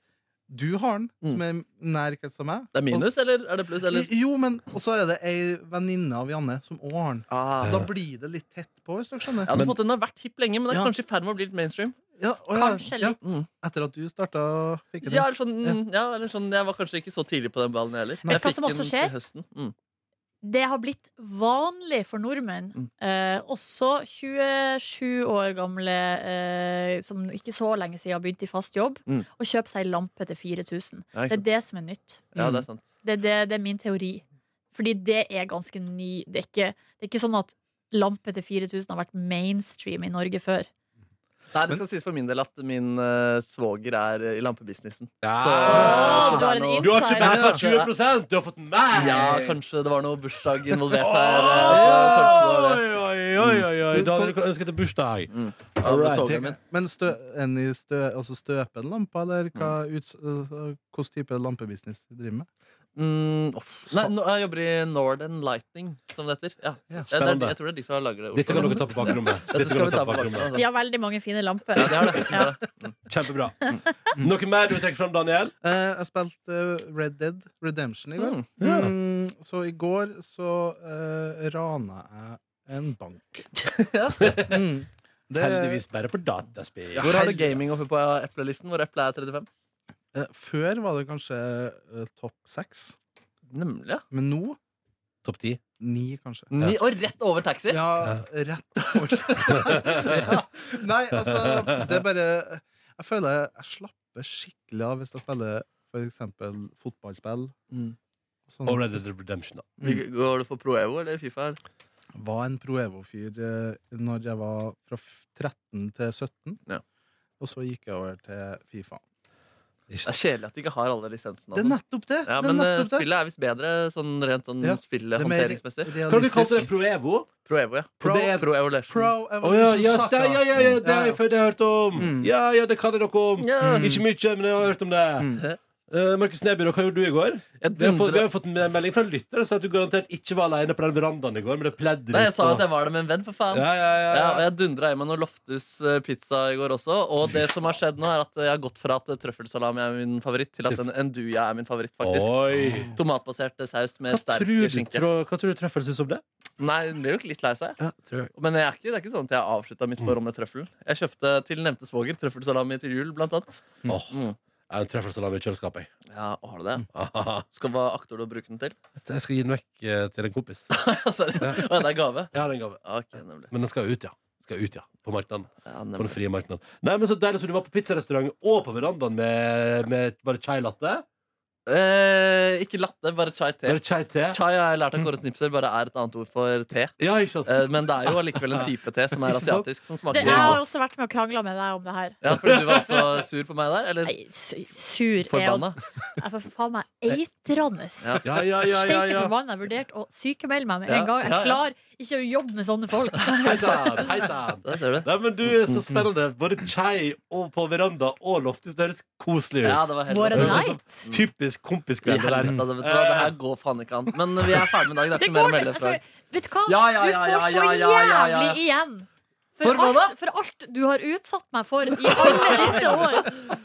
[SPEAKER 5] du har den, som er nær krets av meg.
[SPEAKER 3] Mm. Det er minus, eller er det pluss? Eller?
[SPEAKER 5] Og, jo, men og så er det ei venninne av Janne som òg har den.
[SPEAKER 3] Ah.
[SPEAKER 5] Så da blir det litt tett på, hvis dere skjønner.
[SPEAKER 3] Ja,
[SPEAKER 2] Men-
[SPEAKER 3] den, på en måte, den har vært hipp lenge, men det er
[SPEAKER 5] Ja.
[SPEAKER 3] kanskje i ferd med å bli litt mainstream.
[SPEAKER 5] Ja, å ja,
[SPEAKER 4] Kanskje
[SPEAKER 5] ja.
[SPEAKER 4] litt.
[SPEAKER 3] Mm.
[SPEAKER 5] Etter at du starta fikken
[SPEAKER 3] Ja, eller sånn, ja, eller sånn, jeg var kanskje ikke så tidlig på den ballen, jeg heller.
[SPEAKER 4] Vet
[SPEAKER 3] Jeg
[SPEAKER 4] du hva som også skjer?
[SPEAKER 3] til høsten. Mm.
[SPEAKER 4] Det har blitt vanlig for nordmenn,
[SPEAKER 3] Mm.
[SPEAKER 4] eh, også 27 år gamle eh, som ikke så lenge siden har begynt i fast jobb,
[SPEAKER 3] Mm.
[SPEAKER 4] å kjøpe seg lampe til 4000.
[SPEAKER 3] Ja, ikke
[SPEAKER 4] Det er
[SPEAKER 3] sant?
[SPEAKER 4] det som er nytt.
[SPEAKER 3] ja, det er sant.
[SPEAKER 4] Det, det, det er min teori. Fordi det er ganske ny. Det er ikke, det er ikke sånn at lampe til 4000 har vært mainstream i Norge før.
[SPEAKER 3] Nei, det skal sies for min del at min eh, svoger er eh, i lampebusinessen.
[SPEAKER 2] Ja.
[SPEAKER 4] Åh,
[SPEAKER 3] så
[SPEAKER 4] du har
[SPEAKER 3] det er
[SPEAKER 4] en
[SPEAKER 3] noe-
[SPEAKER 4] insider.
[SPEAKER 2] Du har ikke bare fått
[SPEAKER 3] Nei,
[SPEAKER 2] 20 du har fått mer!
[SPEAKER 3] Ja, kanskje det var noe bursdag involvert der. eh, så kanskje det var det.
[SPEAKER 2] Oi, oi, oi, oi, oi. Daniel, hva ønsker jeg til bursdag?
[SPEAKER 3] Ja, det var
[SPEAKER 2] Alright,
[SPEAKER 3] svogeren min.
[SPEAKER 5] Men stø, en i stø, altså støpe en lampe, eller hva, uts- altså, hvilken type lampebusiness du driver med?
[SPEAKER 3] Mm, off. Nei, nå- jeg jobber i Northern Lightning, som det heter. Ja.
[SPEAKER 5] Ja,
[SPEAKER 3] Ja, det
[SPEAKER 2] spennende.
[SPEAKER 3] er, jeg tror det er de som lager det.
[SPEAKER 2] Dette kan dere ta på bakrommet.
[SPEAKER 3] Dette
[SPEAKER 2] Dette
[SPEAKER 3] skal
[SPEAKER 2] kan dere
[SPEAKER 3] vi ta
[SPEAKER 2] ta
[SPEAKER 3] på
[SPEAKER 2] på bakrommet.
[SPEAKER 4] De har veldig mange fine lamper.
[SPEAKER 3] Ja, det har det.
[SPEAKER 4] Ja.
[SPEAKER 3] det, har det.
[SPEAKER 2] Kjempebra. Noe mer du vil trekke fram, Daniel?
[SPEAKER 5] Eh, jeg spilte eh, Red Dead Redemption i går.
[SPEAKER 3] Mm.
[SPEAKER 5] Mm. så i går så eh, rana jeg en bank. Mm. Det,
[SPEAKER 2] Heldigvis bare på dataspill.
[SPEAKER 5] Ja.
[SPEAKER 3] Hvor har du gaming oppe på eplelisten? Hvor eplet er 35?
[SPEAKER 5] eh, før var det kanskje eh, topp seks,
[SPEAKER 3] Nemlig, ja.
[SPEAKER 5] men nå
[SPEAKER 2] Topp ti.
[SPEAKER 5] ni, kanskje.
[SPEAKER 3] Ni, og rett over taxi!
[SPEAKER 5] Ja, rett over ja. Nei, altså, det er bare Jeg føler jeg slapper skikkelig av hvis jeg spiller for eksempel fotballspill.
[SPEAKER 3] Mm.
[SPEAKER 5] Sånn.
[SPEAKER 2] Og Red Dead Redemption, da.
[SPEAKER 5] Mm.
[SPEAKER 3] Går du for Pro Evo eller Fifa? eller?
[SPEAKER 5] Var en Proevo-fyr eh, når jeg var fra f- 13 til 17.
[SPEAKER 3] Ja.
[SPEAKER 5] Og så gikk jeg over til Fifa.
[SPEAKER 3] Det er kjedelig at de ikke har alle lisensene. og
[SPEAKER 5] Det er
[SPEAKER 3] sånn.
[SPEAKER 5] nettopp det!
[SPEAKER 3] Ja,
[SPEAKER 5] det er
[SPEAKER 3] men eh,
[SPEAKER 5] nettopp det.
[SPEAKER 3] spillet er visst bedre sånn rent sånn
[SPEAKER 5] Ja,
[SPEAKER 3] spillet
[SPEAKER 5] Det er mer
[SPEAKER 3] håndteringsmessig.
[SPEAKER 2] Hva kalte dere kalt det?
[SPEAKER 5] realistisk.
[SPEAKER 2] Proevo?
[SPEAKER 3] Pro Evo, ja.
[SPEAKER 5] Pro-
[SPEAKER 3] Og det er Pro Evolution.
[SPEAKER 5] Pro
[SPEAKER 2] Å ja,
[SPEAKER 5] Evolution
[SPEAKER 2] ja,
[SPEAKER 5] Soccer.
[SPEAKER 2] ja, ja, ja, ja, det har jeg, det har jeg hørt om.
[SPEAKER 5] Mm.
[SPEAKER 2] Ja, ja, det kan jeg noe om.
[SPEAKER 3] Ja.
[SPEAKER 5] Mm.
[SPEAKER 2] Ikke mye, men jeg har hørt om det.
[SPEAKER 5] Mm.
[SPEAKER 2] Eh, Markus Neby, da, hva gjorde du i går?
[SPEAKER 3] Jeg
[SPEAKER 2] Vi har fått, vi
[SPEAKER 3] dundrer-
[SPEAKER 2] har fått en melding fra en lytter som sa at du garantert ikke var alene på den verandaen i går. Men det pledde litt
[SPEAKER 3] Nei, jeg sa
[SPEAKER 2] og-
[SPEAKER 3] at jeg var der med en venn, for faen.
[SPEAKER 2] ja, ja, ja,
[SPEAKER 3] Ja,
[SPEAKER 2] ja.
[SPEAKER 3] og jeg dundra i meg noe Loftus eh, pizza i går også. Og det som har skjedd nå, er at jeg har gått fra at eh, trøffelsalami er min favoritt, til at en enduja er min favoritt, faktisk.
[SPEAKER 2] Oi.
[SPEAKER 3] Tomatbasert eh, saus med
[SPEAKER 2] Hva
[SPEAKER 3] sterk
[SPEAKER 2] tror, du,
[SPEAKER 3] skinke.
[SPEAKER 2] trå- hva tror du trøffel syns om det?
[SPEAKER 3] Nei, hun blir jo litt lei seg.
[SPEAKER 2] Ja, tror jeg.
[SPEAKER 3] Men jeg er ikke, det er ikke sånn at jeg avslutta mitt forhold med trøffelen. Jeg kjøpte til nevnte svoger trøffelsalami til jul, blant annet.
[SPEAKER 2] Åh,
[SPEAKER 3] Mm.
[SPEAKER 2] jeg har en trøffelsalami i kjøleskapet. jeg.
[SPEAKER 3] Ja, har du
[SPEAKER 2] Mm.
[SPEAKER 3] det?
[SPEAKER 2] Ahaha.
[SPEAKER 3] Skal, hva akter du å bruke den til?
[SPEAKER 2] Jeg skal gi den vekk eh, til en kompis.
[SPEAKER 3] Sorry. Å, det er gave?
[SPEAKER 2] Jeg har en gave.
[SPEAKER 3] Ja, Ok, nemlig.
[SPEAKER 2] Men den skal ut, ja. Skal ut, ja. På markedet.
[SPEAKER 3] Ja,
[SPEAKER 2] På den
[SPEAKER 3] nemlig.
[SPEAKER 2] frie markedet. Nei, men så deilig så du var på pizzarestaurant og på verandaen med, med Var det chai latte?
[SPEAKER 3] Eh, ikke latte, bare chai-te.
[SPEAKER 2] Bare chai te. Mm.
[SPEAKER 3] Chai har jeg lært av Kåre Snipser, bare er et annet ord for te.
[SPEAKER 2] Ja, ikke sant?
[SPEAKER 3] Eh, Men det er jo allikevel en type te som er
[SPEAKER 2] Ikke sant?
[SPEAKER 3] asiatisk, som
[SPEAKER 4] Det,
[SPEAKER 3] smaker
[SPEAKER 4] jeg har
[SPEAKER 3] godt.
[SPEAKER 4] også vært med og krangla med deg om det her.
[SPEAKER 3] Ja, fordi du var også sur på meg der? Eller
[SPEAKER 4] Nei, su- sur er jo
[SPEAKER 3] forbanna?
[SPEAKER 4] Jeg får faen meg eitrende.
[SPEAKER 2] Ja,
[SPEAKER 3] Ja.
[SPEAKER 2] ja, ja, ja,
[SPEAKER 4] Steike
[SPEAKER 2] ja.
[SPEAKER 4] forbanna. Jeg vurderte å sykemelde meg med
[SPEAKER 3] Ja,
[SPEAKER 4] en gang.
[SPEAKER 3] ja,
[SPEAKER 4] Jeg
[SPEAKER 3] ja.
[SPEAKER 4] klarer ikke å jobbe med sånne folk.
[SPEAKER 2] Hei sann, hei sann.
[SPEAKER 3] Der ser du.
[SPEAKER 2] Nei, men du er så spennende. Både chai og på veranda og loftet. Det høres koselig
[SPEAKER 3] Ja,
[SPEAKER 2] ut.
[SPEAKER 3] det var helt
[SPEAKER 4] Våre
[SPEAKER 2] det er
[SPEAKER 4] night.
[SPEAKER 2] Typisk
[SPEAKER 3] I
[SPEAKER 2] kompiskveld. det der.
[SPEAKER 3] helvete, altså, vet du hva? Det her går faen ikke an. Men vi er ferdig med dagen. Det er
[SPEAKER 4] Det
[SPEAKER 3] ikke mer å
[SPEAKER 4] går
[SPEAKER 3] melde
[SPEAKER 4] altså,
[SPEAKER 3] fra.
[SPEAKER 4] Vet du hva?
[SPEAKER 3] Ja, ja,
[SPEAKER 4] Du
[SPEAKER 3] ja,
[SPEAKER 4] får
[SPEAKER 3] ja,
[SPEAKER 4] så
[SPEAKER 3] ja, ja, ja, ja.
[SPEAKER 4] jævlig igjen.
[SPEAKER 3] For
[SPEAKER 4] For
[SPEAKER 3] hva da?
[SPEAKER 4] alt, for alt du har utsatt meg for i alle disse år.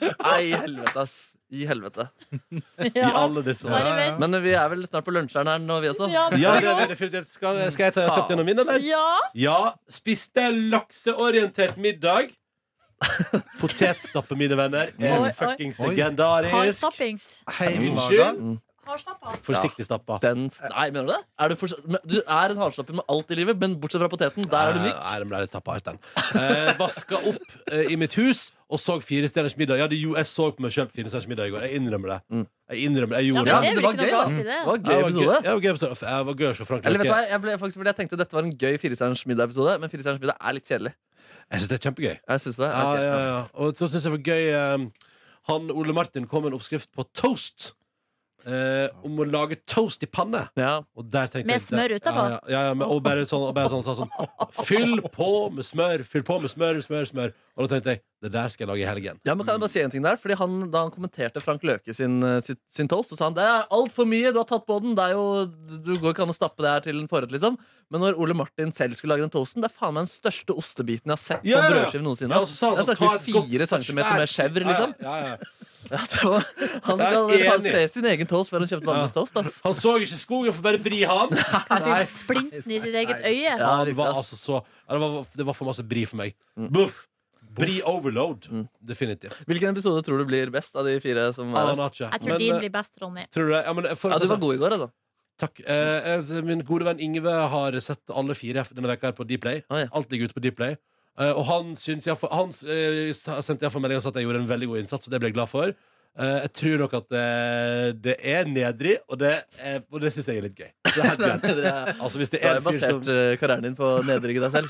[SPEAKER 3] Nei, i helvete, ass. I helvete.
[SPEAKER 2] I
[SPEAKER 4] Ja,
[SPEAKER 2] alle disse år.
[SPEAKER 4] bare vent.
[SPEAKER 3] Men vi er vel snart på lunsjeren her nå, vi også.
[SPEAKER 4] Ja, det
[SPEAKER 2] Ja,
[SPEAKER 4] skal
[SPEAKER 2] det er
[SPEAKER 4] gå.
[SPEAKER 2] veldig fint. Skal, skal jeg ta kjapt gjennom min, eller?
[SPEAKER 4] Ja.
[SPEAKER 2] Ja, spiste lakseorientert middag. Potetstappe, mine venner,
[SPEAKER 4] Oi,
[SPEAKER 2] er
[SPEAKER 4] oi.
[SPEAKER 2] fuckings
[SPEAKER 5] Oi.
[SPEAKER 2] legendarisk.
[SPEAKER 4] Hardstappings.
[SPEAKER 5] Heimelaga.
[SPEAKER 2] Unnskyld?
[SPEAKER 4] Hardstappa.
[SPEAKER 2] Forsiktig stappa.
[SPEAKER 3] Den s- Nei, mener du det? Er du, fortsatt- men du er en hardslapper med alt i livet, men bortsett fra poteten. Der er du myk.
[SPEAKER 2] Eh, Nei, den ble litt tappa ut, den. Eh, vaska opp eh, i mitt hus og så Fire stjerners middag. Ja, det jo, jeg så på meg sjøl på Fire stjerners middag i går. Jeg innrømmer det.
[SPEAKER 3] Mm.
[SPEAKER 2] Jeg innrømmer det, jeg
[SPEAKER 4] Ja, men
[SPEAKER 2] gjorde
[SPEAKER 4] det
[SPEAKER 3] Ja,
[SPEAKER 4] er
[SPEAKER 3] det
[SPEAKER 4] vel
[SPEAKER 3] var
[SPEAKER 4] ikke
[SPEAKER 3] gøy,
[SPEAKER 4] noe
[SPEAKER 3] da.
[SPEAKER 4] galt i det.
[SPEAKER 3] Det var
[SPEAKER 2] Ja,
[SPEAKER 3] gøy
[SPEAKER 2] det var gøy-
[SPEAKER 3] episode.
[SPEAKER 2] ja, det var gøy episode. Jeg var gøy å se Frank
[SPEAKER 3] Eller vet du
[SPEAKER 2] Løke.
[SPEAKER 3] hva, jeg, ble faktisk, fordi jeg tenkte dette var en gøy firestjerners middag episode men firestjerners middag er litt kjedelig.
[SPEAKER 2] Jeg syns det er kjempegøy.
[SPEAKER 3] Jeg synes det.
[SPEAKER 2] Ja,
[SPEAKER 3] Ok,
[SPEAKER 2] ja,
[SPEAKER 3] ja.
[SPEAKER 2] ja. Og så syns jeg det var gøy eh, Han Ole Martin kom med en oppskrift på toast. Eh, om å lage toast i panne.
[SPEAKER 3] Ja.
[SPEAKER 2] Og der tenkte
[SPEAKER 4] Med
[SPEAKER 2] jeg-
[SPEAKER 4] smør utapå?
[SPEAKER 2] Ja, ja, ja, ja, men- og bare sånn, og bare sånn, sa sånn Fyll på med smør, fyll på med smør, smør, smør. Og da tenkte jeg det der skal jeg lage i helgen.
[SPEAKER 3] Ja, men kan jeg bare si en ting der? Fordi han, Da han kommenterte Frank Løke sin, eh, sitt- sin toast, så sa han det er altfor mye, du har tatt på den. Det er jo, du går ikke an å stappe det her til en forrett, liksom. Men når Ole Martin selv skulle lage den toasten, det er faen meg den største ostebiten jeg har sett
[SPEAKER 2] Ja,
[SPEAKER 3] på en
[SPEAKER 2] ja, ja.
[SPEAKER 3] brødskive noensinne.
[SPEAKER 2] Ja, og så sa han
[SPEAKER 3] jeg
[SPEAKER 2] sånn,
[SPEAKER 3] snakker
[SPEAKER 2] ta
[SPEAKER 3] vi
[SPEAKER 2] et godt,
[SPEAKER 3] fire centimeter med
[SPEAKER 2] svært-
[SPEAKER 3] skjevr, liksom.
[SPEAKER 2] Ja, ja, ja.
[SPEAKER 3] Ja, det var, han
[SPEAKER 2] Jeg er
[SPEAKER 3] kan han
[SPEAKER 2] enig.
[SPEAKER 3] se sin egen toast før han kjøpte andres toast. Ass.
[SPEAKER 2] Han så ikke skogen for bare bri han.
[SPEAKER 4] Kanskje splinten i sitt eget øye.
[SPEAKER 3] Ja,
[SPEAKER 2] han var
[SPEAKER 3] virkelig, ass.
[SPEAKER 2] altså så, ja, det, var, det var for masse bri for meg.
[SPEAKER 3] Mm.
[SPEAKER 2] Buff. Bri overload. Definitivt.
[SPEAKER 3] Hvilken episode tror du blir best av de fire som er her?
[SPEAKER 2] Alan Ache.
[SPEAKER 4] Jeg
[SPEAKER 2] Men,
[SPEAKER 4] tror din
[SPEAKER 2] eh,
[SPEAKER 4] blir best, Ronny.
[SPEAKER 2] Tror du det? Ja, men for, sånn
[SPEAKER 3] Ja, du var god i går, altså.
[SPEAKER 2] Takk. Eh, eh, min gode venn Ingve har sett alle fire denne veka her på Dplay.
[SPEAKER 3] Oi.
[SPEAKER 2] Alt ligger ute på Dplay. Eh, og han, syns jeg, for- han eh, sa- sendte iallfall melding og sa at jeg gjorde en veldig god innsats, og det ble jeg glad for. Eh, jeg tror nok at eh, det er nedrig, og det, er- og det syns jeg er litt gøy. Det er helt greit.
[SPEAKER 3] Det er-
[SPEAKER 2] Altså, hvis det
[SPEAKER 3] Du har
[SPEAKER 2] er
[SPEAKER 3] jo
[SPEAKER 2] en fyr som Mm,
[SPEAKER 3] basert eh, karrieren din på å nedrigge deg selv.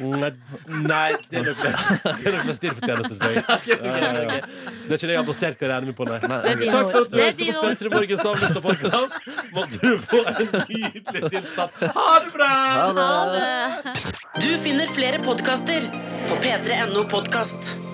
[SPEAKER 2] Nei, nei det er nok mest, det er nok mest din fortjeneste, tror jeg. Ja, ja, ja. Det er ikke det jeg har basert karrieren min på, nei.
[SPEAKER 3] Nei,
[SPEAKER 4] Det er
[SPEAKER 3] ok.
[SPEAKER 4] dine
[SPEAKER 2] Takk for
[SPEAKER 4] ord.
[SPEAKER 2] at du
[SPEAKER 4] Det er
[SPEAKER 2] hørte
[SPEAKER 4] dine
[SPEAKER 2] på
[SPEAKER 4] ord.
[SPEAKER 2] Petter Morgens avslutta podkast. Måtte du få en nydelig tilstand. Ha det bra!
[SPEAKER 3] Ha det.
[SPEAKER 4] Ha det.
[SPEAKER 1] Du finner flere podkaster på p3.no podkast.